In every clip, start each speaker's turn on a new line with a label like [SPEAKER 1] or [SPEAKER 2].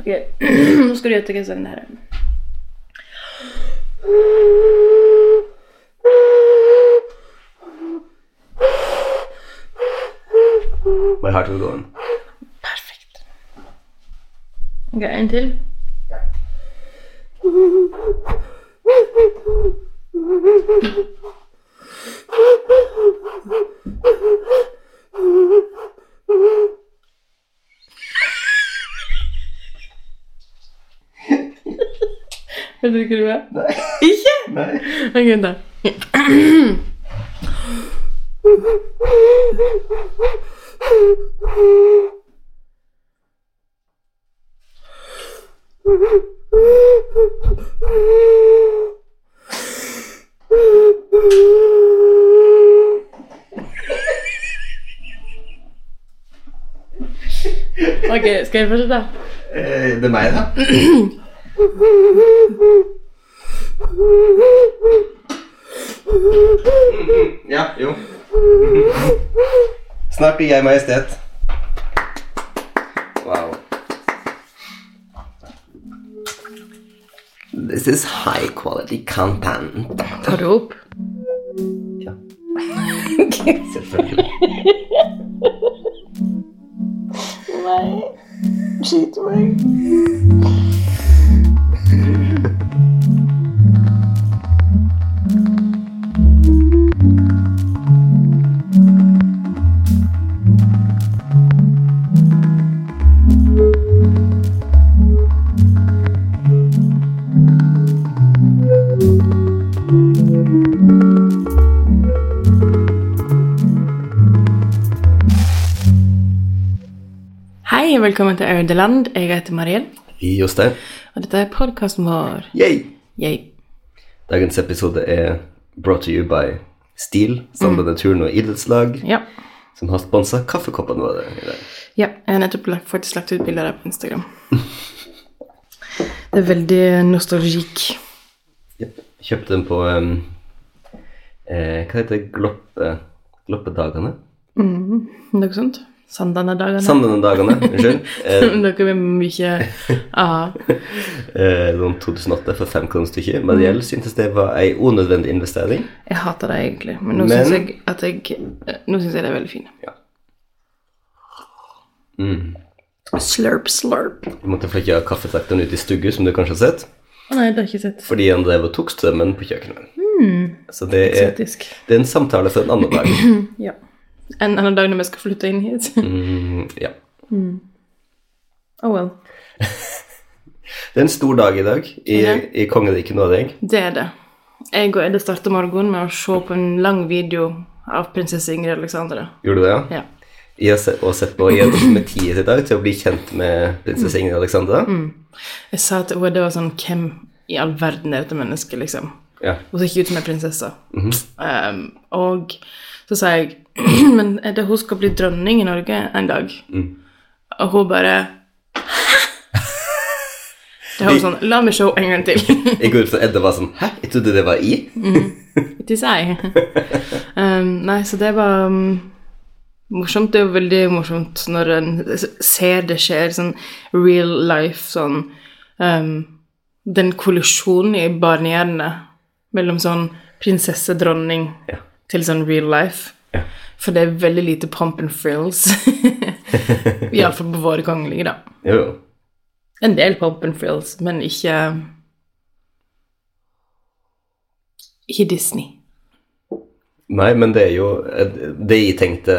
[SPEAKER 1] Okej, nu ska du göra en sång här.
[SPEAKER 2] My heart will go on.
[SPEAKER 1] Perfekt. Okej, en till. Hva drikker du med?
[SPEAKER 2] Nei.
[SPEAKER 1] Ikke?
[SPEAKER 2] Nei.
[SPEAKER 1] Ok, da. Ok, skal jeg fortsette?
[SPEAKER 2] Eh, det er meg, da. Ja, jo. Snart blir jeg majestet. Wow. This is high quality content.
[SPEAKER 1] Tar du opp?
[SPEAKER 2] Ja,
[SPEAKER 1] Ok.
[SPEAKER 2] selvfølgelig.
[SPEAKER 1] Nei. Skyt meg. Hei, velkommen til Audeland. Jeg heter Mariell,
[SPEAKER 2] Jostein.
[SPEAKER 1] og dette er podkasten vår.
[SPEAKER 2] Yay!
[SPEAKER 1] Jeg.
[SPEAKER 2] Dagens episode er brought to you by Steel, Sandane turn- og idrettslag,
[SPEAKER 1] Ja.
[SPEAKER 2] som har sponsa kaffekoppene våre i dag.
[SPEAKER 1] ja. Jeg har nettopp lagt, faktisk lagt ut bilder av det på Instagram. Det er veldig nostalgikk.
[SPEAKER 2] Jep. Kjøpte den på um, eh, Hva heter det? Gloppe, gloppedagene?
[SPEAKER 1] Noe sånt. Sandane-dagene.
[SPEAKER 2] Sandene-dagene, unnskyld. Eh,
[SPEAKER 1] Dere vil mye ah.
[SPEAKER 2] eh, noen 2008 for fem kroner stykket. Mariell syntes det var ei unødvendig investering.
[SPEAKER 1] Jeg hater det egentlig, men nå
[SPEAKER 2] Men-
[SPEAKER 1] syns jeg at jeg eh, Nå syns jeg det er veldig fint.
[SPEAKER 2] Ja. Mm.
[SPEAKER 1] Slurp, slurp. Å
[SPEAKER 2] Vi måtte flekke kaffetrakteren ut i stugu, som du kanskje har sett,
[SPEAKER 1] nei, det har jeg ikke sett.
[SPEAKER 2] fordi han drev og tok strømmen på kjøkkenet. Så det er,
[SPEAKER 1] Eksotisk.
[SPEAKER 2] det er en samtale for en annen dag.
[SPEAKER 1] Ja. En annen dag når vi skal flytte inn hit.
[SPEAKER 2] Mm, ja.
[SPEAKER 1] Oh well.
[SPEAKER 2] Det er en stor dag i dag i,
[SPEAKER 1] Ja.
[SPEAKER 2] i kongeriket Norge.
[SPEAKER 1] Det er det. Jeg og Edde starter morgenen med å se på en lang video av prinsesse Ingrid Alexandra.
[SPEAKER 2] Gjorde du det?
[SPEAKER 1] Ja.
[SPEAKER 2] Jeg har sett, og sett på i en metier i dag til å bli kjent med prinsesse Ingrid Alexandra.
[SPEAKER 1] Jeg sa til henne det var sånn Hvem i all verden er dette mennesket, liksom?
[SPEAKER 2] Ja.
[SPEAKER 1] Hun ser ikke ut som en prinsesse. um, og så sa jeg Men Edde, hun skal bli dronning i Norge en dag. Og hun bare Det var sånn La meg se henne en gang til.
[SPEAKER 2] Jeg går ut fra Edda var sånn Hæ, jeg trodde det var i?
[SPEAKER 1] til seg. um, nei, så det var um, morsomt. Det er jo veldig morsomt når en s- ser det skjer, sånn real life, sånn um, Den kollisjonen i barnehjernen mellom sånn prinsesse-dronning
[SPEAKER 2] Ja.
[SPEAKER 1] til sånn real life.
[SPEAKER 2] Ja.
[SPEAKER 1] For det er veldig lite pomp and frills. Iallfall på våre kongelige, da.
[SPEAKER 2] Jo, jo.
[SPEAKER 1] En del pomp and frills, men ikke Ikke Disney.
[SPEAKER 2] Nei, men det er jo eh, Det jeg tenkte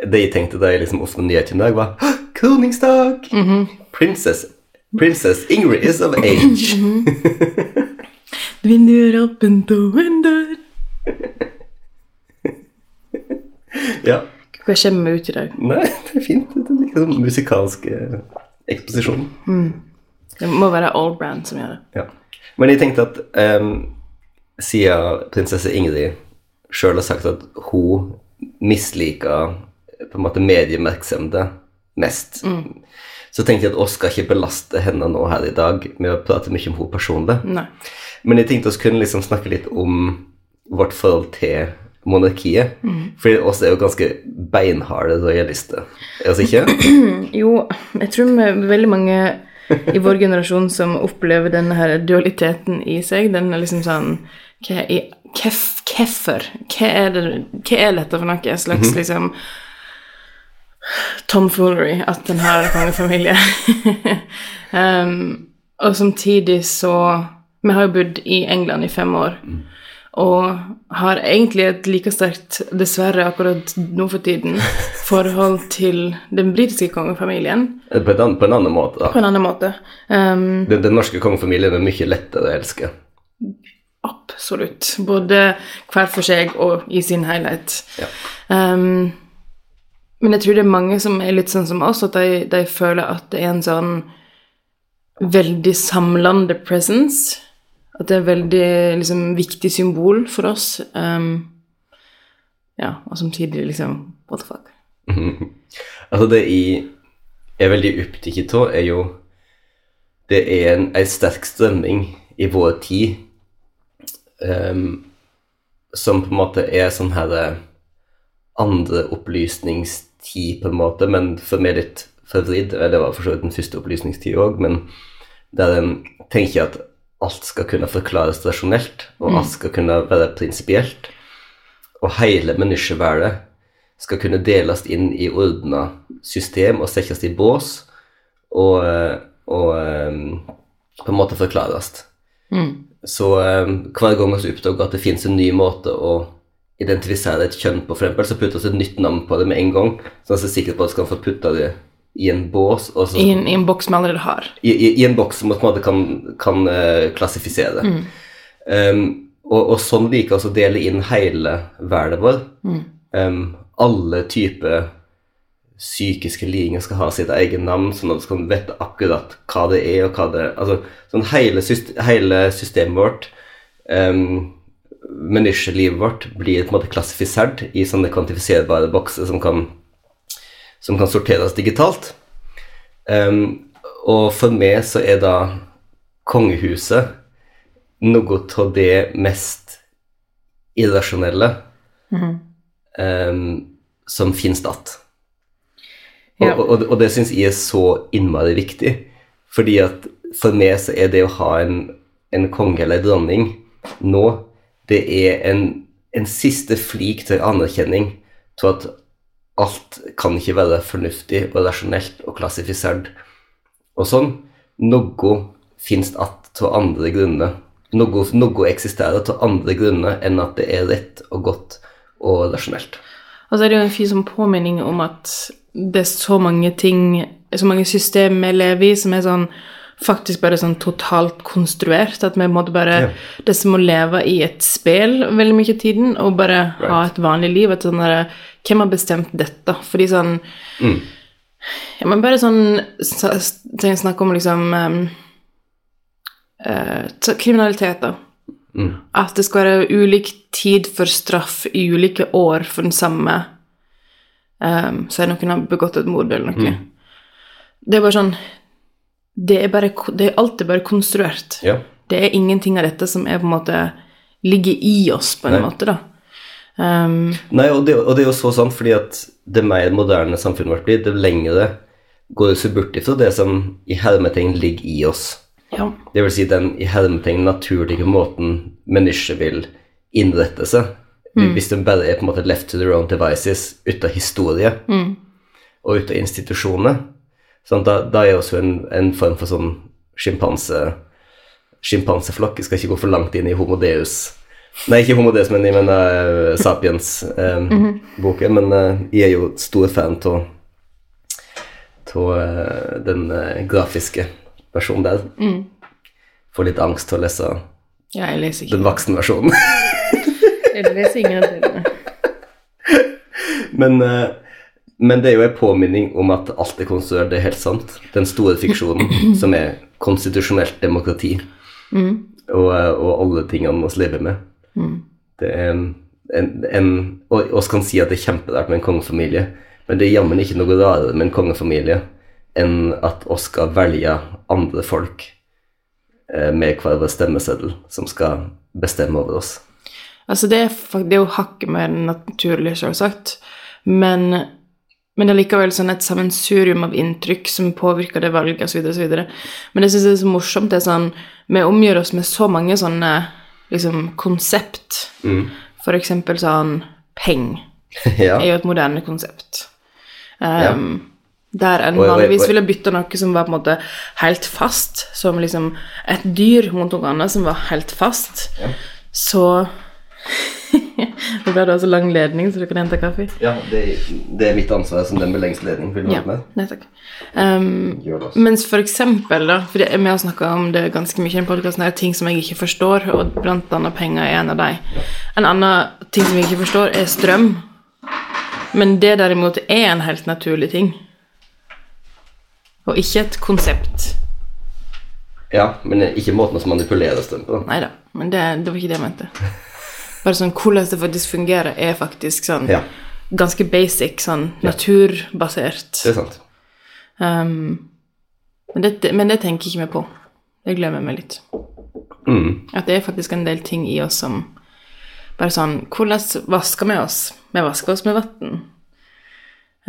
[SPEAKER 2] Det jeg tenkte da jeg liksom åpnet nyheten i dag, var «Hå, Kroningsdag! Princess Princess Ingrid is of age.
[SPEAKER 1] Vinduer åpent og en dør
[SPEAKER 2] ja.
[SPEAKER 1] Hva kommer vi ut i dag?
[SPEAKER 2] Nei, det er fint. Det er liksom musikalsk eh, eksposisjon.
[SPEAKER 1] Det må være All Brand som gjør det.
[SPEAKER 2] Ja. Men jeg tenkte at ehm, siden prinsesse Ingrid sjøl har sagt at hun misliker eh, på en måte medieoppmerksomheten mest, så tenkte jeg at oss skal ikke belaste henne nå her i dag med å prate mye om
[SPEAKER 1] Mm.
[SPEAKER 2] henne personlig.
[SPEAKER 1] Nei.
[SPEAKER 2] Men jeg tenkte oss kunne liksom snakke litt om vårt forhold til monarkiet. Fordi oss er jo ganske beinharde royalister. Er oss ikke?
[SPEAKER 1] Jo, jeg tror vi er veldig mange i vår generasjon som opplever denne her dualiteten i seg. Den er liksom sånn Hva i kef, Hvorfor? Hva, er det- hva er dette for noe slags liksom tomfoolery at den har kongefamilie? um, og samtidig så Vi har jo bodd i England i fem år. Og har egentlig et like sterkt, dessverre akkurat nå for tiden, forhold til den britiske kongefamilien
[SPEAKER 2] På en, annen- på en annen måte,
[SPEAKER 1] på
[SPEAKER 2] da.
[SPEAKER 1] en annen måte. Um,
[SPEAKER 2] Den, den norske kongefamilien er mye lettere å elske.
[SPEAKER 1] Absolutt. Både hver for seg og i sin helhet.
[SPEAKER 2] Ja.
[SPEAKER 1] Ehm, men jeg tror det er mange som er litt sånn som oss, at de, de føler at det er en sånn veldig samlende presence. At det er veldig liksom, viktig symbol for oss. Ehm, ja, og samtidig liksom What the fuck?
[SPEAKER 2] Altså, det jeg er veldig opptatt av, er jo Det er en, en sterk strømning i vår tid ehm, som på en måte er sånn her eh, andre opplysningstid, på en måte, men for meg litt forvridd. Eller Det var for så vidt den første opplysningstid òg, men der en tenker at alt skal kunne forklares rasjonelt, og alt skal kunne være prinsipielt. Og hele menneskeverdet skal kunne deles inn i ordna system og settes i bås og, eh, og em, på en måte forklares. Mm. Så em, hver gang vi oppdager at det fins en ny måte å identifisere et kjønn på, for eksempel, så putter vi et nytt navn på det med en gang, så vi er sikre på at vi skal få putta det i en bås, og så
[SPEAKER 1] I en, i en boks vi allerede har.
[SPEAKER 2] i, i, i en boks som man på en måte kan, kan eh, klassifisere. Um, og, og sånn liker vi å dele inn hele verden vår. Um, alle typer psykiske lidinger skal ha sitt eget navn, sånn at vi kan vite akkurat hva det er, og hva det Altså sånn hele, syst- hele systemet vårt, um, menneskelivet vårt, blir på en måte klassifisert i sånne kvantifiserbare bokser som kan, som kan sorteres digitalt. Um, og for meg så er da kongehuset noe av det mest irrasjonelle um, som finnes datt. Og,
[SPEAKER 1] Ja.
[SPEAKER 2] og, og det syns jeg er så innmari viktig, fordi at for meg så er det å ha en, en konge eller en dronning nå, det er en, en siste flik til anerkjenning til at alt kan ikke være fornuftig og rasjonelt og klassifisert og sånn. Noe finnes att av andre grunner. Noe, noe eksisterer av andre grunner enn at det er rett og godt og rasjonelt.
[SPEAKER 1] Og så er det jo en fin sånn påminning om at det er så mange ting, så mange system vi lever i, som er sånn faktisk bare sånn totalt konstruert. At vi måtte bare
[SPEAKER 2] Ja.
[SPEAKER 1] Det som å leve i et spel veldig mye av tiden, og bare ha et vanlig liv. At sånn der, Hvem har bestemt dette? Fordi sånn
[SPEAKER 2] Mm.
[SPEAKER 1] Ja, men bare sånn sa- s- tenk- Snakk om liksom ehm, eh, t- kriminalitet, da.
[SPEAKER 2] Mm.
[SPEAKER 1] At det skal være ulik tid for straff i ulike år for den samme um, Så er noen har begått et mord eller noe.
[SPEAKER 2] Mm.
[SPEAKER 1] Det er bare sånn det er, bare, ko- det er alltid bare konstruert.
[SPEAKER 2] Ja.
[SPEAKER 1] Det er ingenting av dette som er på en måte ligger i oss, på en
[SPEAKER 2] Nei.
[SPEAKER 1] måte, da. Um,
[SPEAKER 2] Nei, og det, og det er jo så sant, fordi at det mer moderne samfunnet vårt blir, det lengre går det så bort ifra det som i hermetegn ligger i oss.
[SPEAKER 1] ja.
[SPEAKER 2] Det vil si den i hermetegn naturlige måten mennesker vil innrette seg. Hvis de bare er på en måte left to their own devices uten historie og uten institusjoner. Sånn, da, da er også en, en form for sånn sjimpanse sjimpanseflokk. Jeg skal ikke gå for langt inn i Homo Deus. Nei, ikke Homo Deus, men jeg mener eh, Sapiens-boken. Men eh, jeg er jo stor fan av den eh, grafiske versjonen der. Får litt angst til å lese
[SPEAKER 1] ja, jeg leser ikke.
[SPEAKER 2] den voksne versjonen.
[SPEAKER 1] Jeg leser ingen av delene.
[SPEAKER 2] men, eh, men det er jo en påminning om at alt er konstruert, det er helt sant. Den store fiksjonen som er konstitusjonelt demokrati.
[SPEAKER 1] Mm.
[SPEAKER 2] Og, eh, og alle tingene vi lever med. Det er en, en, en Og oss kan si at det er kjemperært med en kongefamilie, men det er jammen ikke noe rarere med en kongefamilie enn at oss skal velge andre folk eh, med hver vår stemmeseddel som skal bestemme over oss.
[SPEAKER 1] Altså, det er, fak- det er jo hakket mer naturlig, selvsagt. Men, men det er likevel sånn et sammensurium av inntrykk som påvirker det valget, osv., osv. Men det syns jeg er så morsomt. det er sånn, Vi omgjør oss med så mange sånne liksom, konsept.
[SPEAKER 2] Mm.
[SPEAKER 1] For eksempel sånn peng
[SPEAKER 2] ja.
[SPEAKER 1] er jo et moderne konsept. Ehm, Der en
[SPEAKER 2] Oi, oi, oi.
[SPEAKER 1] vanligvis ville bytte noe som var på en måte helt fast, som liksom et dyr mot noe annet som var helt fast, så Nå ble det altså lang ledning, så du kan hente kaffe.
[SPEAKER 2] ja det, det er mitt ansvar som den med lengst ledning. Vil du
[SPEAKER 1] Ja,
[SPEAKER 2] være med?
[SPEAKER 1] nei takk. Ehm,
[SPEAKER 2] Gjør det, altså.
[SPEAKER 1] mens for eksempel, da, for det- vi har snakka om det ganske mye i denne podcasten her, ting som jeg ikke forstår, og blant annet penger er en av de. En annen ting som jeg ikke forstår, er strøm. Men det derimot er en helt naturlig ting. Og ikke et konsept.
[SPEAKER 2] Ja, men ikke måten å manipulere strøm på. da.
[SPEAKER 1] Nei da, men det, det var ikke det jeg mente. Bare sånn hvordan det faktisk fungerer, er faktisk sånn
[SPEAKER 2] Ja.
[SPEAKER 1] ganske basic, sånn naturbasert.
[SPEAKER 2] Det er sant.
[SPEAKER 1] Um, men, det, men det tenker ikke vi på. Det glemmer vi litt.
[SPEAKER 2] Mm.
[SPEAKER 1] At det er faktisk en del ting i oss som bare sånn Hvordan vasker vi oss? Vi vasker oss med vann.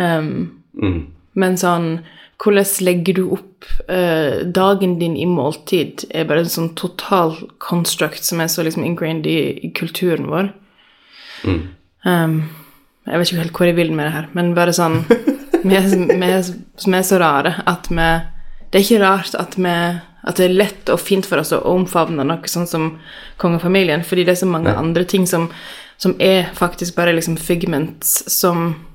[SPEAKER 1] Um,
[SPEAKER 2] Mm.
[SPEAKER 1] men sånn Hvordan legger du opp eh, dagen din i måltid? er bare en sånn total construct som er så liksom ingrained i, i kulturen vår.
[SPEAKER 2] Mm.
[SPEAKER 1] Um, jeg vet ikke helt hvor jeg vil med det her, men bare sånn Vi er, vi er, vi er så rare at vi Det er ikke rart at vi at det er lett og fint for oss å omfavne noe sånn som kongefamilien, fordi det er så mange andre ting som, som er faktisk bare liksom figments som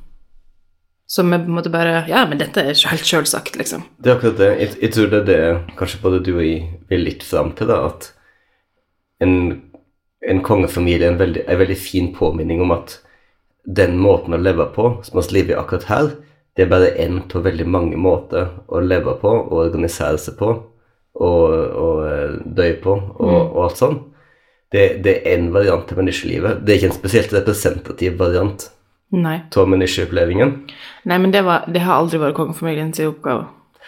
[SPEAKER 1] som vi på en måte bare Ja, men dette er helt sjølsagt, liksom.
[SPEAKER 2] Det er akkurat det. Jeg, jeg tror det er det kanskje både du og jeg vil litt fram til, da, at en, en kongefamilie er en veldig, en veldig fin påminning om at den måten å leve på, som vi lever i akkurat her, det er bare én av veldig mange måter å leve på og organisere seg på og, og eh, dø på og, og alt sånn. Det, det er én variant av menneskelivet. Det er ikke en spesielt representativ variant
[SPEAKER 1] Nei.
[SPEAKER 2] av menneskeopplevingen.
[SPEAKER 1] Nei, men det, var, det har aldri vært kongefamiliens oppgave.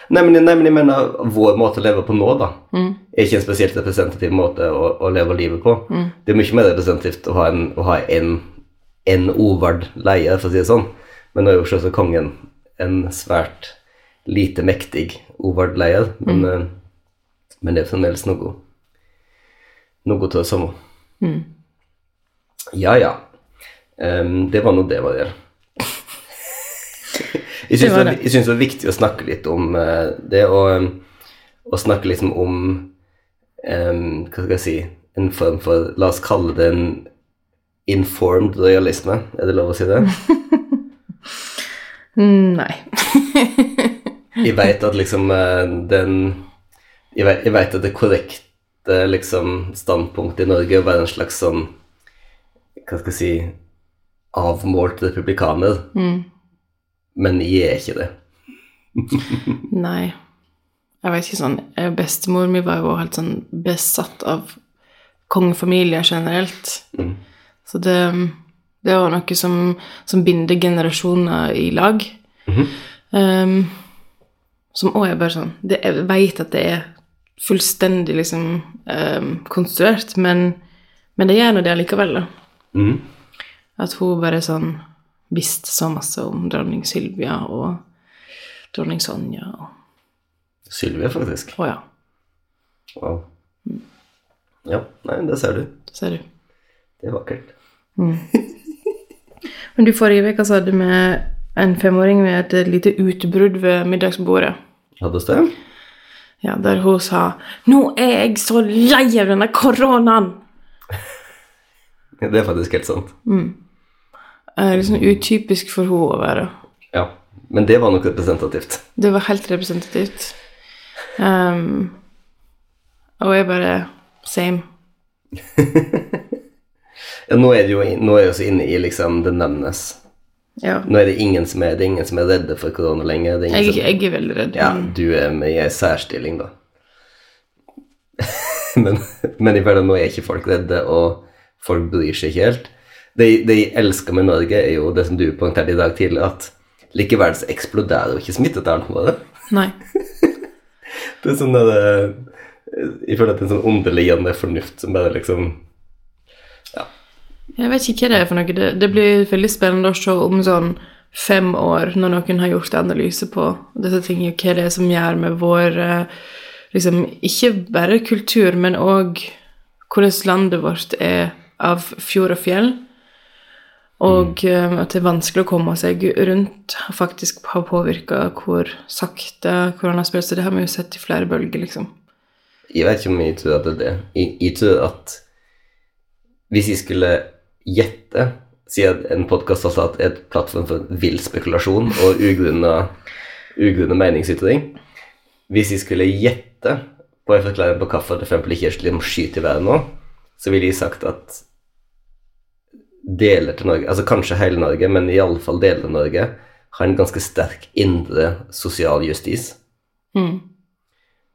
[SPEAKER 2] Nei men, nei, men jeg mener vår måte å leve på nå, da. Er ikke en spesielt representativ måte å, å leve livet på. Det er mye mer representativt å ha en, å ha en, en overd leie, for å si det sånn. Men nå er jo selvsagt kongen en svært lite mektig overd leie. Men, eh, men det er fremdeles noe noe av det samme.
[SPEAKER 1] Mm.
[SPEAKER 2] Ja, ja. Em, det var nå det, Mariel. Jeg syns
[SPEAKER 1] Det var
[SPEAKER 2] det, jeg syns det er viktig å snakke litt om eh, det, og, em, og snakke liksom om em, Hva skal jeg si En form for La oss kalle det en informed realisme. Er det lov å si det?
[SPEAKER 1] Nei.
[SPEAKER 2] Jeg veit at liksom eh, den Jeg vet, jeg vet at det korrekte liksom, standpunktet i Norge er å være en slags sånn Hva skal jeg si Avmålt republikaner.
[SPEAKER 1] Mm.
[SPEAKER 2] Men jeg er ikke det.
[SPEAKER 1] Nei. Jeg vet ikke sånn eh, Bestemor mi var jo helt sånn besatt av kongefamilier generelt. Så det, det var noe som, som binder generasjoner i lag. um, som også er bare sånn det, Jeg vet at det er fullstendig liksom um, konstruert, men, men det gjør nå det allikevel, da.
[SPEAKER 2] Mhm.
[SPEAKER 1] At hun bare sånn visste så masse om dronning Sylvia og dronning Sonja og
[SPEAKER 2] Sylvia, faktisk.
[SPEAKER 1] Å ja,
[SPEAKER 2] Wow.
[SPEAKER 1] Mm.
[SPEAKER 2] Ja, nei, det ser du.
[SPEAKER 1] ser du.
[SPEAKER 2] Det er vakkert.
[SPEAKER 1] Men du, forrige uke så hadde vi en femåring med et lite utbrudd ved middagsbordet.
[SPEAKER 2] Hadde oss det?
[SPEAKER 1] Ja, Der hun sa 'Nå er jeg så lei av denne koronaen!'
[SPEAKER 2] Det er faktisk helt sant.
[SPEAKER 1] Eh, liksom utypisk for hun å være.
[SPEAKER 2] Ja. Men det var nok representativt.
[SPEAKER 1] Det var helt representativt. Ehm, og jeg bare Same.
[SPEAKER 2] Ja, nå er det jo nå er jeg også inne i liksom the numbness.
[SPEAKER 1] Ja.
[SPEAKER 2] Nå er det ingen som er, det er, ingen som er redde for korona lenger. Det er ingen
[SPEAKER 1] Jeg,
[SPEAKER 2] som,
[SPEAKER 1] jeg er veldig redd.
[SPEAKER 2] Ja, du er med i en særstilling, da. men, men i hverdagen nå er ikke folk redde, og folk bryr seg ikke helt. Det, det jeg elsker med Norge, er jo det som du poengterte i dag tidlig, at likevel så eksploderer jo ikke smittetallene våre.
[SPEAKER 1] Nei.
[SPEAKER 2] Det er sånn der, eh, Jeg føler at det er en sånn underliggende fornuft som bare liksom
[SPEAKER 1] Jeg vet ikke hva det er for noe. Det, det blir veldig spennende å se om sånn fem år, når noen har gjort analyse på disse tingene, hva det er som gjør med vår eh, liksom, Ikke bare kultur, men òg hvordan landet vårt er av fjord og fjell. Og eh, at det er vanskelig å komme seg rundt, faktisk har påvirka hvor sakte korona sprer seg. Det har vi jo sett i flere bølger, liksom.
[SPEAKER 2] Jeg vet ikke om jeg tror at det er det. Jeg, jeg tror at hvis jeg skulle gjette, siden en podkast har satt et plattform for vill spekulasjon og ugrunna meningsytring Hvis jeg skulle gjette på en forklaring på hvorfor det for eksempel ikke er slik om skyt i været nå, så ville jeg sagt at deler til Norge, altså kanskje hele Norge, men iallfall deler av Norge, har en ganske sterk indre sosial justis
[SPEAKER 1] Mm.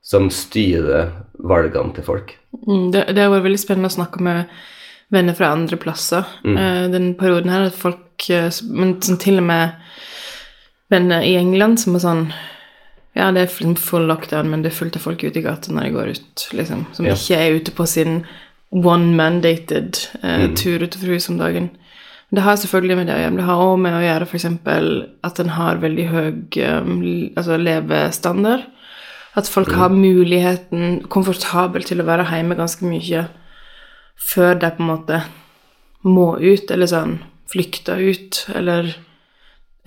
[SPEAKER 2] som styrer valgene til folk.
[SPEAKER 1] Mm, det, det har vært veldig spennende å snakke med venner fra andre plasser. Eh, den perioden her at folk eh, s- Men sånn, til og med venner i England som er sånn Ja, det er full- full lockdown, men det er fullt av folk ute i gata når de går ut, liksom. Som
[SPEAKER 2] Ja.
[SPEAKER 1] ikke er ute på sin one mandated eh, tur utenfor huset om dagen. Men Det har selvfølgelig med det å gjøre. men Det har òg med å gjøre f.eks. at en har veldig høy eh, l- altså levestandard. At folk har muligheten komfortabelt til å være hjemme ganske mye før de på en måte må ut, eller sånn flykter ut, eller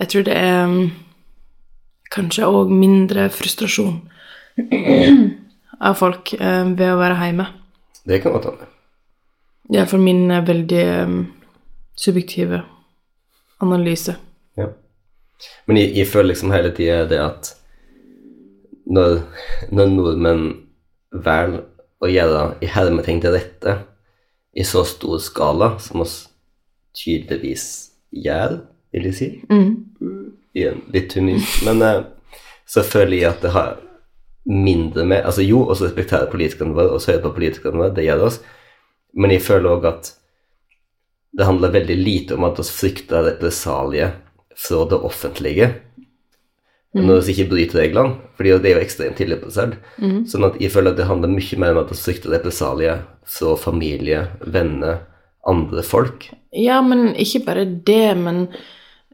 [SPEAKER 1] Jeg tror det er mm, kanskje òg mindre frustrasjon av folk eh, ved å være hjemme.
[SPEAKER 2] Det kan godt hende.
[SPEAKER 1] Det er for min eh, veldig eh, subjektive analyse.
[SPEAKER 2] Ja. Men jeg, jeg føler liksom hele tida det at når, når nordmenn velger å gjøre i hermetegn til rette i så stor skala som oss tydeligvis gjør, vil jeg si Igjen, litt tungt, men eh, så føler jeg at det har mindre med Altså jo, også respektere politikerne våre, også høre på politikerne våre, det gjør oss, men jeg føler òg at det handler veldig lite om at oss frykter represalier fra det offentlige
[SPEAKER 1] Mm.
[SPEAKER 2] når vi ikke bryter reglene, fordi det er jo ekstremt tilrepresert.
[SPEAKER 1] Mm.
[SPEAKER 2] Sånn at jeg føler at det handler mye mer om at vi frykter represalier fra familie, venner, andre folk.
[SPEAKER 1] Ja, men ikke bare det, men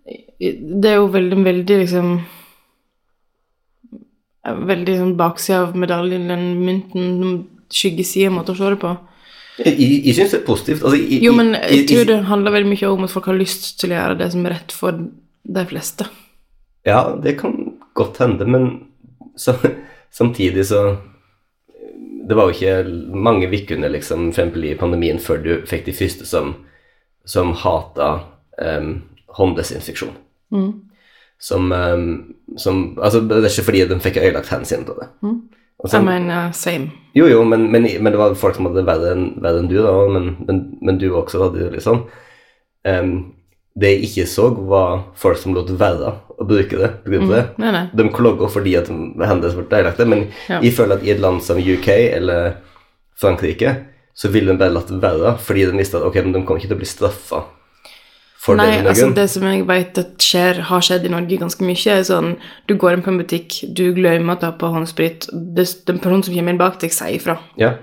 [SPEAKER 1] eh, det er jo veldig, veldig liksom Veldig sånn baksida av medaljen, den mynten, skyggesida måte å se det på.
[SPEAKER 2] Jeg, jeg, jeg syns det er positivt. Altså, jeg,
[SPEAKER 1] Jo, men
[SPEAKER 2] jeg-
[SPEAKER 1] jeg
[SPEAKER 2] jeg-
[SPEAKER 1] tror det handler veldig mye om at folk har lyst til å gjøre det som er rett for de fleste.
[SPEAKER 2] Ja, det kan godt hende, men så, samtidig så Det var jo ikke mange uker liksom, for eksempel i pandemien før du fikk de første som, som hata em, hånddesinfeksjon. Som, em, som Altså, det er ikke fordi de fikk øyelagt hendene sine av det. Og
[SPEAKER 1] Jeg
[SPEAKER 2] sånn-
[SPEAKER 1] mener same.
[SPEAKER 2] jo, jo, men, men, men det var folk som hadde det verre enn verre enn du, da, men, men, men du også hadde det litt sånn. Em, det jeg ikke så, var folk som lot være å bruke det. På grunn av det.
[SPEAKER 1] Nei, nei.
[SPEAKER 2] De klogger fordi at hendelser ble ødelagte, men
[SPEAKER 1] Ja.
[SPEAKER 2] jeg føler at i et land som UK eller Frankrike, så ville de bare latt det være fordi de visste at ok, men de kommer ikke til å bli straffa for
[SPEAKER 1] Nei,
[SPEAKER 2] det. under
[SPEAKER 1] altså
[SPEAKER 2] grunn.
[SPEAKER 1] det som jeg vet at skjer, har skjedd i Norge ganske mye, er sånn Du går inn på en butikk, du glemmer å ta på håndsprit, det, den personen som kommer inn bak deg, sier ifra.
[SPEAKER 2] Ja,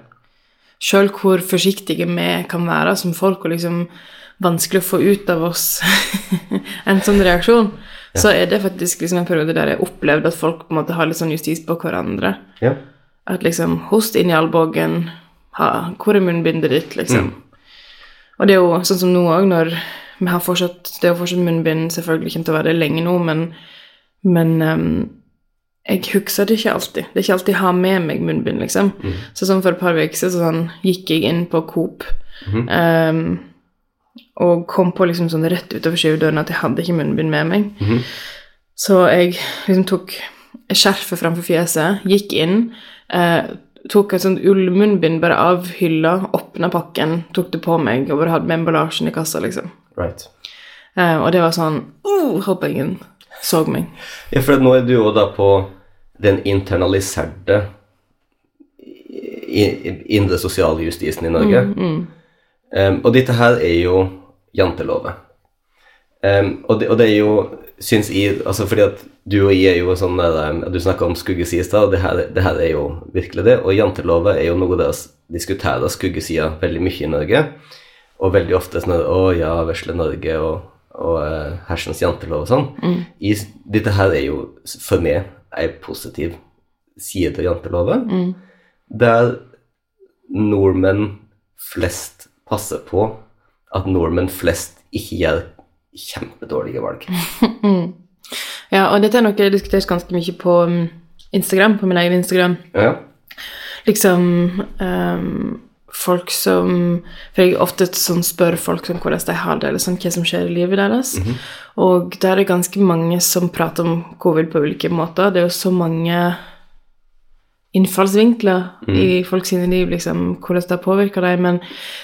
[SPEAKER 1] Sjøl hvor forsiktige vi kan være som folk, og liksom vanskelig å få ut av oss en sånn reaksjon, så er det faktisk liksom en periode der jeg opplevde at folk på en måte har litt sånn justis på hverandre.
[SPEAKER 2] ja.
[SPEAKER 1] At liksom Host inn i albuen. Ha, hvor er munnbindet ditt, liksom? Og det er jo sånn som nå òg, når vi har fortsatt Det er jo fortsatt munnbind, selvfølgelig kommer til å være det lenge nå, men, men ehm, jeg husker det ikke alltid. Det er ikke alltid jeg har med meg munnbind, liksom. Så sånn for et par uker siden så sånn, gikk jeg inn på Coop ehm, og kom på liksom sånn rett utover skyvedøren at jeg hadde ikke munnbind med meg.
[SPEAKER 2] Mhm.
[SPEAKER 1] Så jeg liksom tok skjerfet framfor fjeset, gikk inn, eh, tok et sånt ullmunnbind bare av hylla, åpna pakken, tok det på meg og bare hadde med emballasjen i kassa, liksom.
[SPEAKER 2] Right.
[SPEAKER 1] Eh, og det var sånn uh, Håper ingen så meg.
[SPEAKER 2] Ja, for nå er du jo da på den internaliserte i- i- indre sosiale justisen i Norge. Em, og dette her er jo janteloven. Em, og, det, og det er jo, syns jeg altså Fordi at du og jeg er jo sånn der em, Du snakka om skuggeside i stad, og det her, det her er jo virkelig det. Og janteloven er jo noe deres diskuterer skuggesida veldig mye i Norge. Og veldig ofte sånn at, Å ja, vesle Norge og, og eh, hersens jantelov og sånn. I, s- dette her er jo s- for meg en positiv side til janteloven. Der nordmenn flest passer på at nordmenn flest ikke gjør kjempedårlige valg.
[SPEAKER 1] Ja, og dette er noe jeg har diskutert ganske mye på mm, Instagram, på min egen Instagram.
[SPEAKER 2] Ja,
[SPEAKER 1] Liksom ehm, folk som For jeg ofte sånn spør folk om hvordan de har det, eller sånn hva som skjer i livet deres. Og der er det ganske mange som prater om covid på ulike måter. Det er jo så mange innfallsvinkler i folk sine liv, liksom, hvordan det påvirker dem, men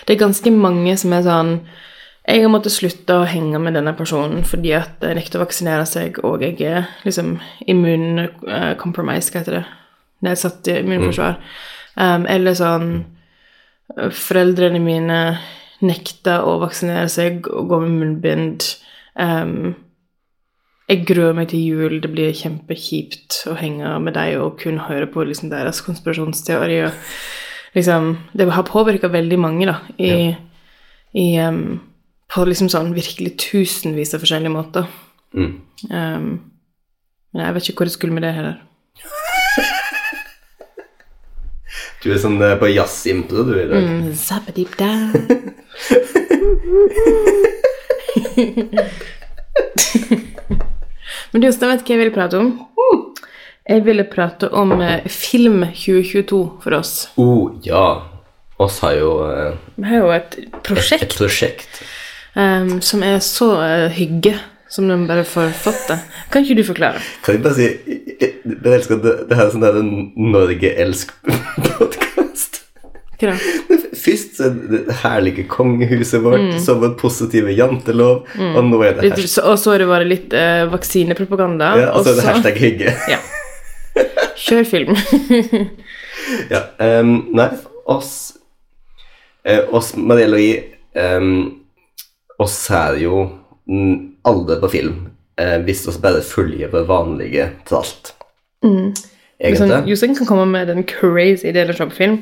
[SPEAKER 1] det er ganske mange som er sånn jeg har måttet slutte å henge med denne personen fordi at jeg nekter å vaksinere seg, og jeg er liksom immuncompromised, hva heter det? Nedsatt i immunforsvar. Um, eller sånn eh, Foreldrene mine nekter å vaksinere seg og gå med munnbind. Um, jeg gruer meg til jul, det blir kjempekjipt å henge med deg og kun høre på liksom, deres konspirasjonsteori. Og, liksom, det har påvirka veldig mange, da, i, i, em, på liksom sånn virkelig tusenvis av forskjellige måter.
[SPEAKER 2] Mm.
[SPEAKER 1] Em, men jeg vet ikke hvor jeg skulle med det heller.
[SPEAKER 2] Du er sånn eh, på jazzimpro du i dag.
[SPEAKER 1] Mm, zappadipda. Men du, Jostein, vet du hva jeg ville prate om? Jeg ville prate om eh, film 2022 for oss.
[SPEAKER 2] Oh, ja. Oss har jo eh,
[SPEAKER 1] Vi har jo et
[SPEAKER 2] et,
[SPEAKER 1] prosjekt
[SPEAKER 2] et prosjekt.
[SPEAKER 1] em, som er så eh, hygge som de bare får fått det. Kan ikke du forklare?
[SPEAKER 2] Kan jeg bare si jeg- jeg- Jeg elsker at det, det her er sånn der en Norge-elsk-podkast.
[SPEAKER 1] Hva da?
[SPEAKER 2] Først så er det det herlige kongehuset vårt, så var det positive jantelov, og nå er det
[SPEAKER 1] Litt,
[SPEAKER 2] hashtag,
[SPEAKER 1] så, og så har det vært litt eh, vaksinepropaganda.
[SPEAKER 2] ja, og så er det
[SPEAKER 1] og så-
[SPEAKER 2] hashtag hygge.
[SPEAKER 1] Ja. Kjør film.
[SPEAKER 2] Ja, ehm, nei, oss, eh, oss Marielle og jeg, ehm, oss ser jo mm, aldri på film, eh, hvis oss bare følger på vanlige tralt. Egentlig.
[SPEAKER 1] Sånn, Jostein kan komme med den crazy ideen å se på film,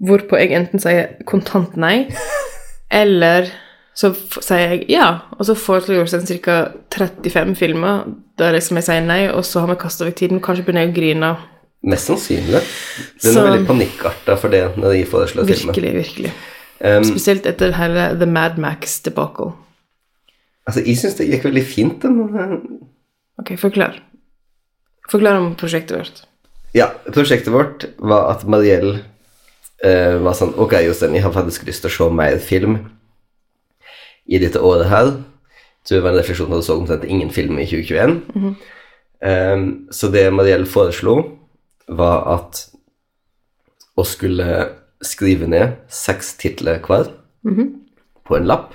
[SPEAKER 1] hvorpå jeg enten sier kontant nei, eller så f sier jeg ja, og så foreslår Jostein ca. 35 filmer der liksom jeg sier nei, og så har vi kasta vekk tiden. Kanskje begynner jeg å grine.
[SPEAKER 2] Mest sannsynlig. Den
[SPEAKER 1] Så-
[SPEAKER 2] er veldig panikkarta for det når de foreslår filmer.
[SPEAKER 1] Virkelig, virkelig. Spesielt etter hele The Mad Max-debacle.
[SPEAKER 2] Altså, jeg syns det gikk veldig fint, den eh,
[SPEAKER 1] Ok, forklar. Forklar om prosjektet vårt.
[SPEAKER 2] Ja, prosjektet vårt var at Mariell eh, var sånn Ok, Jostein, jeg har faktisk lyst til å se mer film i dette året her. Så det var en refleksjon at du så omtrent ingen film i 2021.
[SPEAKER 1] Mhm.
[SPEAKER 2] Eh, så det Mariell foreslo, var at å skulle skrive ned seks titler hver
[SPEAKER 1] Mhm.
[SPEAKER 2] på en lapp.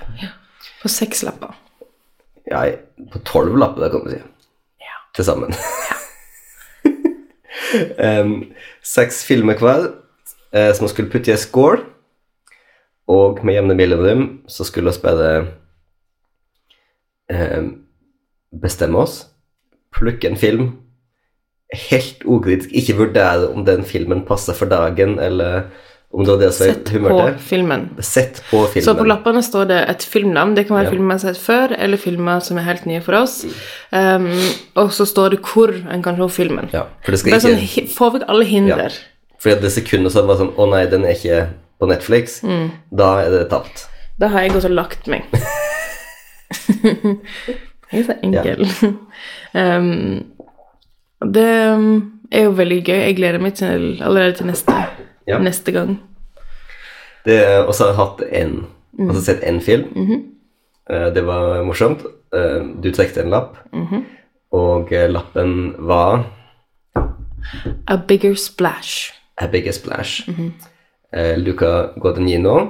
[SPEAKER 1] På seks lapper.
[SPEAKER 2] Ja, på tolv lapper, da, kan du si. Til sammen. Em, seks filmer hver eh, som man skulle putte i en skål. Og med jevne mellomrom så skulle vi bare em, bestemme oss, plukke en film, helt ukritisk, ikke vurdere om den filmen passer for dagen, eller om det var det som
[SPEAKER 1] Sett
[SPEAKER 2] var
[SPEAKER 1] på
[SPEAKER 2] humøret.
[SPEAKER 1] filmen.
[SPEAKER 2] Sett på filmen.
[SPEAKER 1] Så på lappene står det et filmnavn. Det kan være
[SPEAKER 2] Ja.
[SPEAKER 1] filmer jeg har sett før, eller filmer som er helt nye for oss. Um, og så står det hvor en kan se filmen.
[SPEAKER 2] Mm. Ja, for det skal
[SPEAKER 1] Bare
[SPEAKER 2] ikke...
[SPEAKER 1] sånn, hi- Få vekk alle hinder.
[SPEAKER 2] Fordi at det sekundet så var det sånn Å nei, den er ikke på Netflix.
[SPEAKER 1] Mm.
[SPEAKER 2] Da er det tapt.
[SPEAKER 1] Da har jeg gått og lagt meg. jeg er så enkel. um, og det um, er jo veldig gøy. Jeg gleder meg til allerede til neste,
[SPEAKER 2] Ja.
[SPEAKER 1] neste gang.
[SPEAKER 2] Det, og så har jeg hatt en
[SPEAKER 1] Mm.
[SPEAKER 2] Altså sett én film.
[SPEAKER 1] Mm-hmm.
[SPEAKER 2] Eh, Det var morsomt. Eh, Du trekte en lapp,
[SPEAKER 1] Mm-hmm.
[SPEAKER 2] og eh, lappen var
[SPEAKER 1] A bigger splash.
[SPEAKER 2] A Big Splash.
[SPEAKER 1] Mm-hmm.
[SPEAKER 2] Eh, Luca Guadagnino.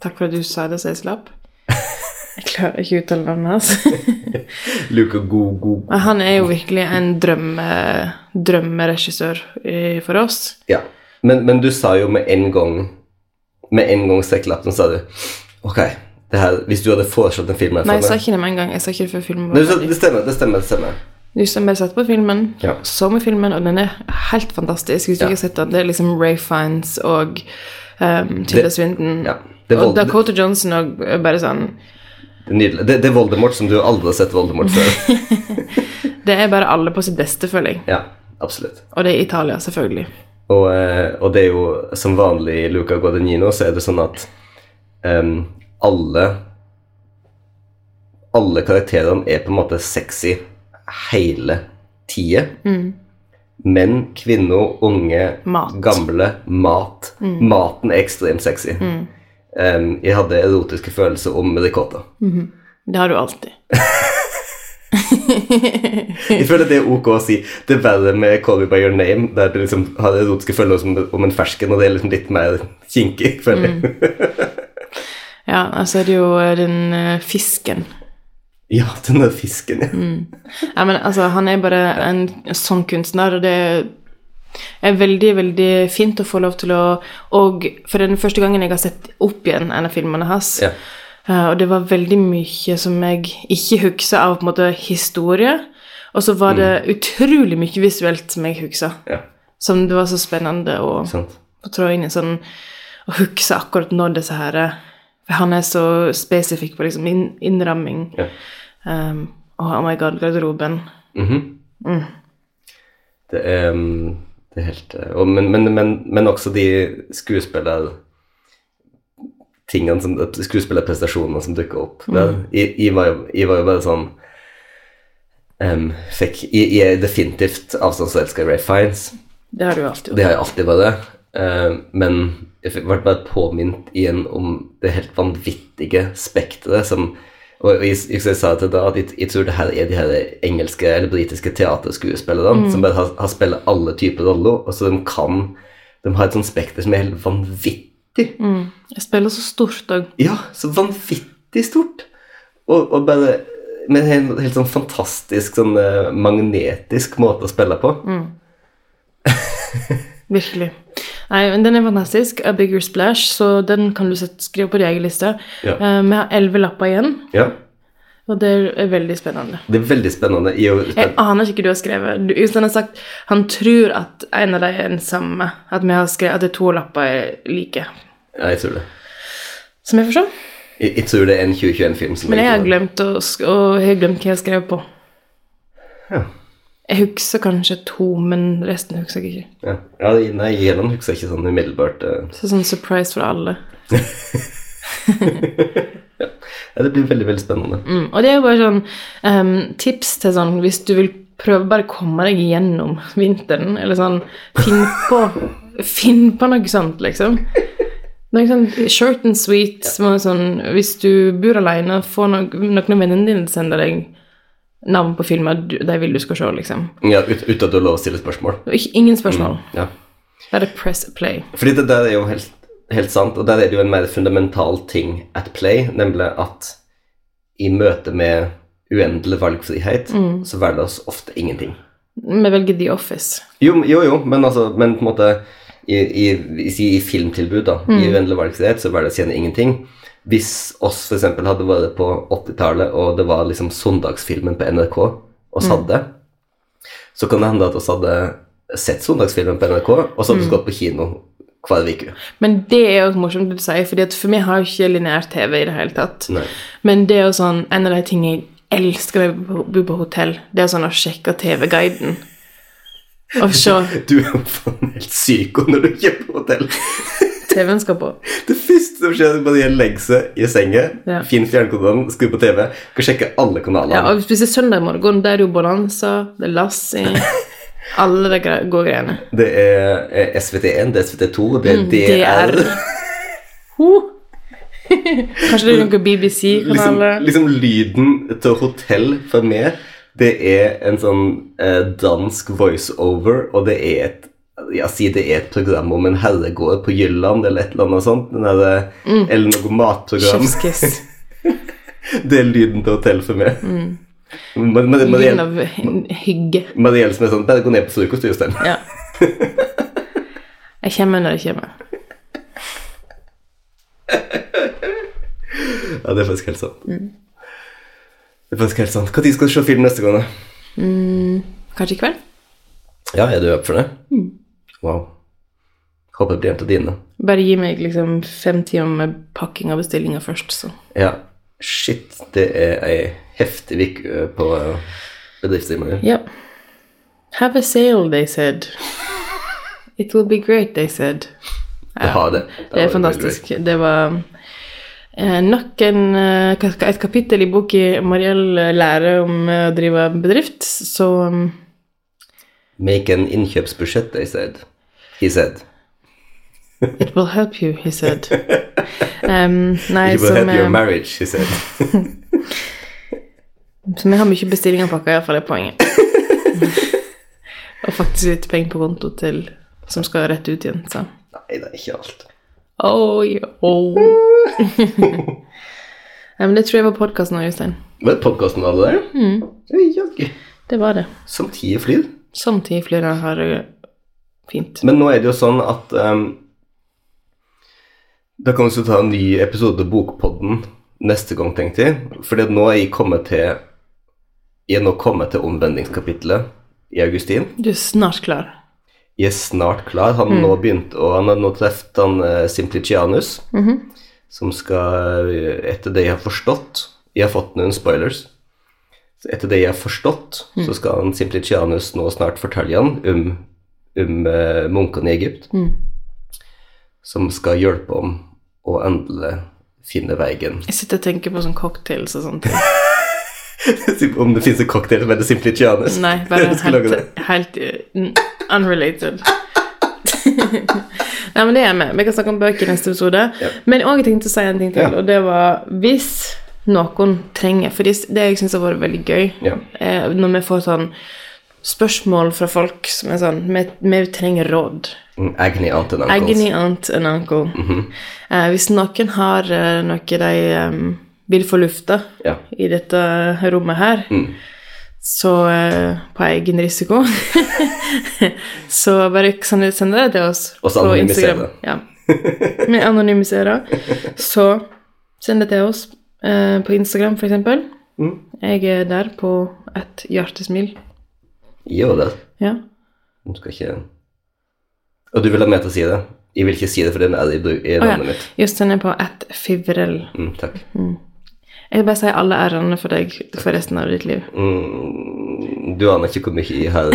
[SPEAKER 1] Takk for at du sa det, så jeg slapp. Jeg klarer ikke å uttale navnet hans.
[SPEAKER 2] Luca Go-Go
[SPEAKER 1] Men Han er jo virkelig en drømme, drømmeregissør eh, for oss.
[SPEAKER 2] Ja. Men, men du sa jo med en gang Med en gang strekkelappen sa du Ok, det her, hvis du hadde foreslått en film her for
[SPEAKER 1] Nei, jeg sa
[SPEAKER 2] meg
[SPEAKER 1] ikke det med en gang. Jeg sa ikke det før filmen
[SPEAKER 2] Nei,
[SPEAKER 1] var
[SPEAKER 2] du sa-
[SPEAKER 1] ferdig.
[SPEAKER 2] Det stemmer, det stemmer. det stemmer
[SPEAKER 1] Du som bare satt på filmen,
[SPEAKER 2] Ja.
[SPEAKER 1] så med filmen, og den er helt fantastisk. Hvis du
[SPEAKER 2] Ja.
[SPEAKER 1] ikke har sett den, det er liksom Ray Fiends og um, Tilda Swinton.
[SPEAKER 2] Ja. Det, er
[SPEAKER 1] og
[SPEAKER 2] Vold, det,
[SPEAKER 1] Dakota Johnson og er bare sånn
[SPEAKER 2] er nydelig. Det, det er Voldemort som du aldri har sett Voldemort før.
[SPEAKER 1] Det er bare alle på sitt beste, føler jeg.
[SPEAKER 2] Ja, absolutt.
[SPEAKER 1] Og det er Italia, selvfølgelig.
[SPEAKER 2] Og, eh, og det er jo som vanlig i Luca Guadagnino, så er det sånn at em, alle Alle karakterene er på en måte sexy hele tida. Menn, kvinner, unge,
[SPEAKER 1] Mat.
[SPEAKER 2] gamle, mat. Maten er ekstremt sexy. Em, jeg hadde erotiske følelser om ricotta.
[SPEAKER 1] Det har du alltid.
[SPEAKER 2] Jeg føler det er ok å si det er verre med Call Me By Your Name, der du liksom har erotiske følelser om, om en fersken, og det er liksom litt mer kinkig, føler jeg.
[SPEAKER 1] Ja, og så er det jo eh, den eh, fisken.
[SPEAKER 2] Ja, den der fisken, ja.
[SPEAKER 1] Ja, men altså, han er bare en sånn kunstner, og det er veldig, veldig fint å få lov til å Og for den første gangen jeg har sett opp igjen en av filmene hans,
[SPEAKER 2] Ja.
[SPEAKER 1] eh, og det var veldig mye som jeg ikke husker av på en måte historie, og så var det
[SPEAKER 2] Mm.
[SPEAKER 1] utrolig mye visuelt som jeg husker,
[SPEAKER 2] ja.
[SPEAKER 1] som det var så spennende å
[SPEAKER 2] Sant.
[SPEAKER 1] å trå inn i sånn Å huske akkurat når disse her For han er så spesifikk på liksom inn, innramming.
[SPEAKER 2] Ja.
[SPEAKER 1] Um, og oh my god, garderoben.
[SPEAKER 2] Det er, mm, det er helt eh, og, men, men, men, men også de skuespiller tingene som, skuespillerprestasjonene som dukker opp der. Jeg, jeg, var, jo- jeg var jo bare sånn em, fikk, jeg, jeg er definitivt avstandselsket Ray Fiends.
[SPEAKER 1] Det har du jo alltid gjort.
[SPEAKER 2] Det har jeg alltid vært. eh, men jeg fikk- ble bare påminnet igjen om det helt vanvittige spekteret som og jeg, jeg, jeg sa til da at jeg, jeg tror det her er de her engelske eller britiske teaterskuespillerne som bare har, har spilt alle typer roller, og så de kan De har et sånt spekter som er helt vanvittig.
[SPEAKER 1] Mm. Jeg spiller så stort òg.
[SPEAKER 2] Ja, så vanvittig stort. Og, og bare med en helt, helt sånn fantastisk sånn eh, magnetisk måte å spille på.
[SPEAKER 1] Virkelig. Nei, men Den er fantastisk. A Bigger Splash, så den kan du sette, skrive på din egen liste.
[SPEAKER 2] Ja.
[SPEAKER 1] Eh, vi har elleve lapper igjen,
[SPEAKER 2] Ja,
[SPEAKER 1] og det er veldig spennende.
[SPEAKER 2] Det er veldig spennende. Jeg er jo
[SPEAKER 1] Jeg
[SPEAKER 2] spent.
[SPEAKER 1] aner ikke hva du har skrevet. Du, Jostein har sagt han tror at en av dem er den samme. At, vi har skrevet, at det er to lapper er like.
[SPEAKER 2] Ja, jeg tror det.
[SPEAKER 1] Som jeg forstår.
[SPEAKER 2] Jeg, jeg tror det er en 2021-film som
[SPEAKER 1] Men jeg
[SPEAKER 2] ikke
[SPEAKER 1] har
[SPEAKER 2] var-
[SPEAKER 1] glemt, å, sk- og jeg har glemt hva jeg skrev på.
[SPEAKER 2] Ja.
[SPEAKER 1] Jeg husker kanskje to, men resten husker jeg ikke.
[SPEAKER 2] Ja. ja, nei, Gjennom husker jeg ikke sånn umiddelbart. eh.
[SPEAKER 1] Så sånn surprise for alle.
[SPEAKER 2] Ja, det blir veldig, veldig spennende.
[SPEAKER 1] Mm. Og det er jo bare sånn ehm, tips til sånn hvis du vil prøve bare å komme deg gjennom vinteren, eller sånn Finn på, finn på noe sånt, liksom. Det er sånn short and sweet. Små, sånn, hvis du bor alene, få no noen av vennene dine til å sende deg navn på filmer du- de vil du skal se, liksom.
[SPEAKER 2] Ja, ut, Uten at du har lov å stille spørsmål.
[SPEAKER 1] Og ikke, ingen spørsmål.
[SPEAKER 2] Ja.
[SPEAKER 1] Bare press play.
[SPEAKER 2] Fordi det der er jo helt, helt sant, og der er det jo en mer fundamental ting at play, nemlig at i møte med uendelig valgfrihet,
[SPEAKER 1] Mm.
[SPEAKER 2] så velger oss ofte ingenting.
[SPEAKER 1] Vi velger The Office.
[SPEAKER 2] Jo, jo, jo men altså, men på en måte i, i, hvis i, i filmtilbud, da, i
[SPEAKER 1] Mm.
[SPEAKER 2] uendelig valgfrihet, så var det å tjene ingenting. Hvis oss f.eks. hadde vært på 80-tallet, og det var liksom søndagsfilmen på NRK, oss
[SPEAKER 1] Mm.
[SPEAKER 2] hadde, så kan det hende at oss hadde sett søndagsfilmen på NRK, og så hadde
[SPEAKER 1] Mm.
[SPEAKER 2] vi gått på kino hver uke.
[SPEAKER 1] Men det er jo morsomt det du sier, fordi at for meg har jo ikke lineær TV i det hele tatt.
[SPEAKER 2] Nei.
[SPEAKER 1] Men det er jo sånn en av de tingene jeg elsker når jeg bo- bor på hotell, det er sånn å sjekke TV-guiden. Og se
[SPEAKER 2] Du er jo faen helt psyko når du er på hotell.
[SPEAKER 1] TV-en skal på.
[SPEAKER 2] Det første som skjer, er at man legger seg i senga,
[SPEAKER 1] Ja.
[SPEAKER 2] finn fjernkontrollen, skru på TV, kan sjekke alle kanalene.
[SPEAKER 1] Ja, og hvis det er søndag morgen, da er det jo Bonanza, det er Lassi Alle de gre- gode greiene.
[SPEAKER 2] Det er eh, SVT1, det er SVT2, det
[SPEAKER 1] Mm,
[SPEAKER 2] er DR.
[SPEAKER 1] DR. Ho! Kanskje det er noen
[SPEAKER 2] Liksom,
[SPEAKER 1] BBC-kanaler.
[SPEAKER 2] liksom lyden til hotell for meg, det er en sånn eh, dansk voiceover, og det er et ja, si det er et program om en herregård på Jylland eller et eller annet sånt. Den er, Eller noe matprogram.
[SPEAKER 1] Chefskiss.
[SPEAKER 2] Det er lyden til hotell for meg. Mar- Mar-
[SPEAKER 1] Lyden
[SPEAKER 2] Marielle
[SPEAKER 1] av hygge.
[SPEAKER 2] Marielle som er sånn Bare gå ned på frokost, Jostein.
[SPEAKER 1] Ja. Jeg kommer når jeg kommer.
[SPEAKER 2] Ja, det er faktisk helt sant. Det er faktisk helt sant. Når skal du se film neste gang, da?
[SPEAKER 1] Kanskje i kveld? Mm.
[SPEAKER 2] Ja, er du opp for det? Wow. Håper det blir en av dine.
[SPEAKER 1] Bare gi meg liksom fem timer med pakking av bestillinger først, så.
[SPEAKER 2] Ja. Shit, det er ei heftig uke på eh, bedriftstimene.
[SPEAKER 1] Ja. Have a sale, they said. It will be great, they said.
[SPEAKER 2] Det har det.
[SPEAKER 1] Det er
[SPEAKER 2] har veldig
[SPEAKER 1] fantastisk. Det var eh, nok en, eh, ka- ka- et kapittel i boka Mariell eh, lærer om eh, å drive bedrift, så mm,
[SPEAKER 2] bra. Make an innkjøpsbudsjett, they said. He said.
[SPEAKER 1] It will help you, he said. Em, nei,
[SPEAKER 2] You will
[SPEAKER 1] som,
[SPEAKER 2] help your
[SPEAKER 1] eh,
[SPEAKER 2] marriage, he said.
[SPEAKER 1] som jeg har mye bestillinger pakka, iallfall er poenget. Og faktisk litt penger på konto til, som skal rett ut igjen, så.
[SPEAKER 2] Nei, det er ikke alt.
[SPEAKER 1] Oi, oh. Nei, men det tror jeg var podkasten òg, Jostein.
[SPEAKER 2] Men podkasten hadde det? Mm. Jaggu.
[SPEAKER 1] Det var det.
[SPEAKER 2] Som tida flyr.
[SPEAKER 1] Samtidig flyr jeg her eh, fint.
[SPEAKER 2] Men nå er det jo sånn at ehm, Da kan vi så ta en ny episode av Bokpodden neste gang, tenkte jeg. Fordi at nå er jeg kommet til Jeg er nå kommet til omvendingskapitlet i Augustin.
[SPEAKER 1] Du er snart klar.
[SPEAKER 2] Jeg er snart klar.
[SPEAKER 1] Mm.
[SPEAKER 2] Han har nå begynt, og han har nå truffet han eh, Simplicianus,
[SPEAKER 1] Mhm.
[SPEAKER 2] som skal eh, Etter det jeg har forstått Jeg har fått noen spoilers. Så etter det jeg har forstått,
[SPEAKER 1] Mm.
[SPEAKER 2] så skal han Simplicianus nå snart fortelle han om, om eh, munkene i Egypt,
[SPEAKER 1] Mm.
[SPEAKER 2] som skal hjelpe ham å endelig finne veien.
[SPEAKER 1] Jeg sitter og tenker på sånn cocktails og sånt.
[SPEAKER 2] om det finnes en cocktail som heter Simplicianus.
[SPEAKER 1] Nei, bare
[SPEAKER 2] Jeg skal lage det.
[SPEAKER 1] helt, helt eh, n- unrelated. Nei, men det er jeg med. Vi kan snakke om bøker i neste episode. Men jeg også tenkte å si en ting til,
[SPEAKER 2] Ja.
[SPEAKER 1] og det var hvis noen trenger For det det jeg syns har vært veldig gøy,
[SPEAKER 2] Ja.
[SPEAKER 1] eh, når vi får sånn spørsmål fra folk som er sånn Vi, vi trenger råd.
[SPEAKER 2] Mm, Agony Aunt and Uncles.
[SPEAKER 1] Agony aunt and uncle.
[SPEAKER 2] Mhm.
[SPEAKER 1] Eh, hvis noen har eh, noe de em, vil få lufta
[SPEAKER 2] Ja.
[SPEAKER 1] i dette rommet her,
[SPEAKER 2] Mm.
[SPEAKER 1] så eh, på egen risiko Så bare kan du sende det til oss
[SPEAKER 2] Og så anonymisere det.
[SPEAKER 1] Ja. Vi anonymiserer. Så send det til oss eh, på Instagram, f.eks.
[SPEAKER 2] Mm.
[SPEAKER 1] Jeg er der på et hjertesmil.
[SPEAKER 2] Jo, det.
[SPEAKER 1] Ja.
[SPEAKER 2] Hun skal ikke Og du vil ha meg til å si det? Jeg vil ikke si det, for den er i bru- i
[SPEAKER 1] Å ja.
[SPEAKER 2] navnet mitt.
[SPEAKER 1] Just den er på ett fivrell.
[SPEAKER 2] Mm, takk.
[SPEAKER 1] Jeg vil bare si alle r-ene for deg for resten av ditt liv.
[SPEAKER 2] Mm, du aner ikke hvor mye jeg har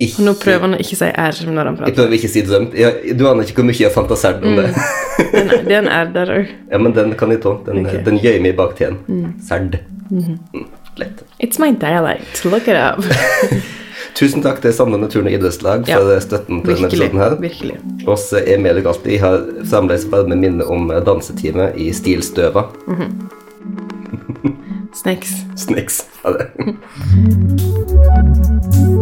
[SPEAKER 2] ikke,
[SPEAKER 1] Og nå prøver han å ikke si R når han
[SPEAKER 2] Jeg
[SPEAKER 1] prater.
[SPEAKER 2] prøver ikke å si drømt. Jeg, du aner ikke hvor mye jeg har fantasert om
[SPEAKER 1] Mm.
[SPEAKER 2] det.
[SPEAKER 1] Den er, det er en R der òg.
[SPEAKER 2] Ja, men den kan jeg ta. Den,
[SPEAKER 1] Ok. Mhm.
[SPEAKER 2] den gjør meg bak tjen. Serd. Mm, lett.
[SPEAKER 1] It's my dialect. Look it up.
[SPEAKER 2] Tusen takk til Samlende turn- og idrettslag
[SPEAKER 1] Ja.
[SPEAKER 2] for støtten til denne
[SPEAKER 1] Virkelig.
[SPEAKER 2] episoden her.
[SPEAKER 1] virkelig.
[SPEAKER 2] Og så er med deg alltid. Jeg har fremdeles varme minner om dansetime i Stilstøva.
[SPEAKER 1] Snakes.
[SPEAKER 2] Snakes. Ha det.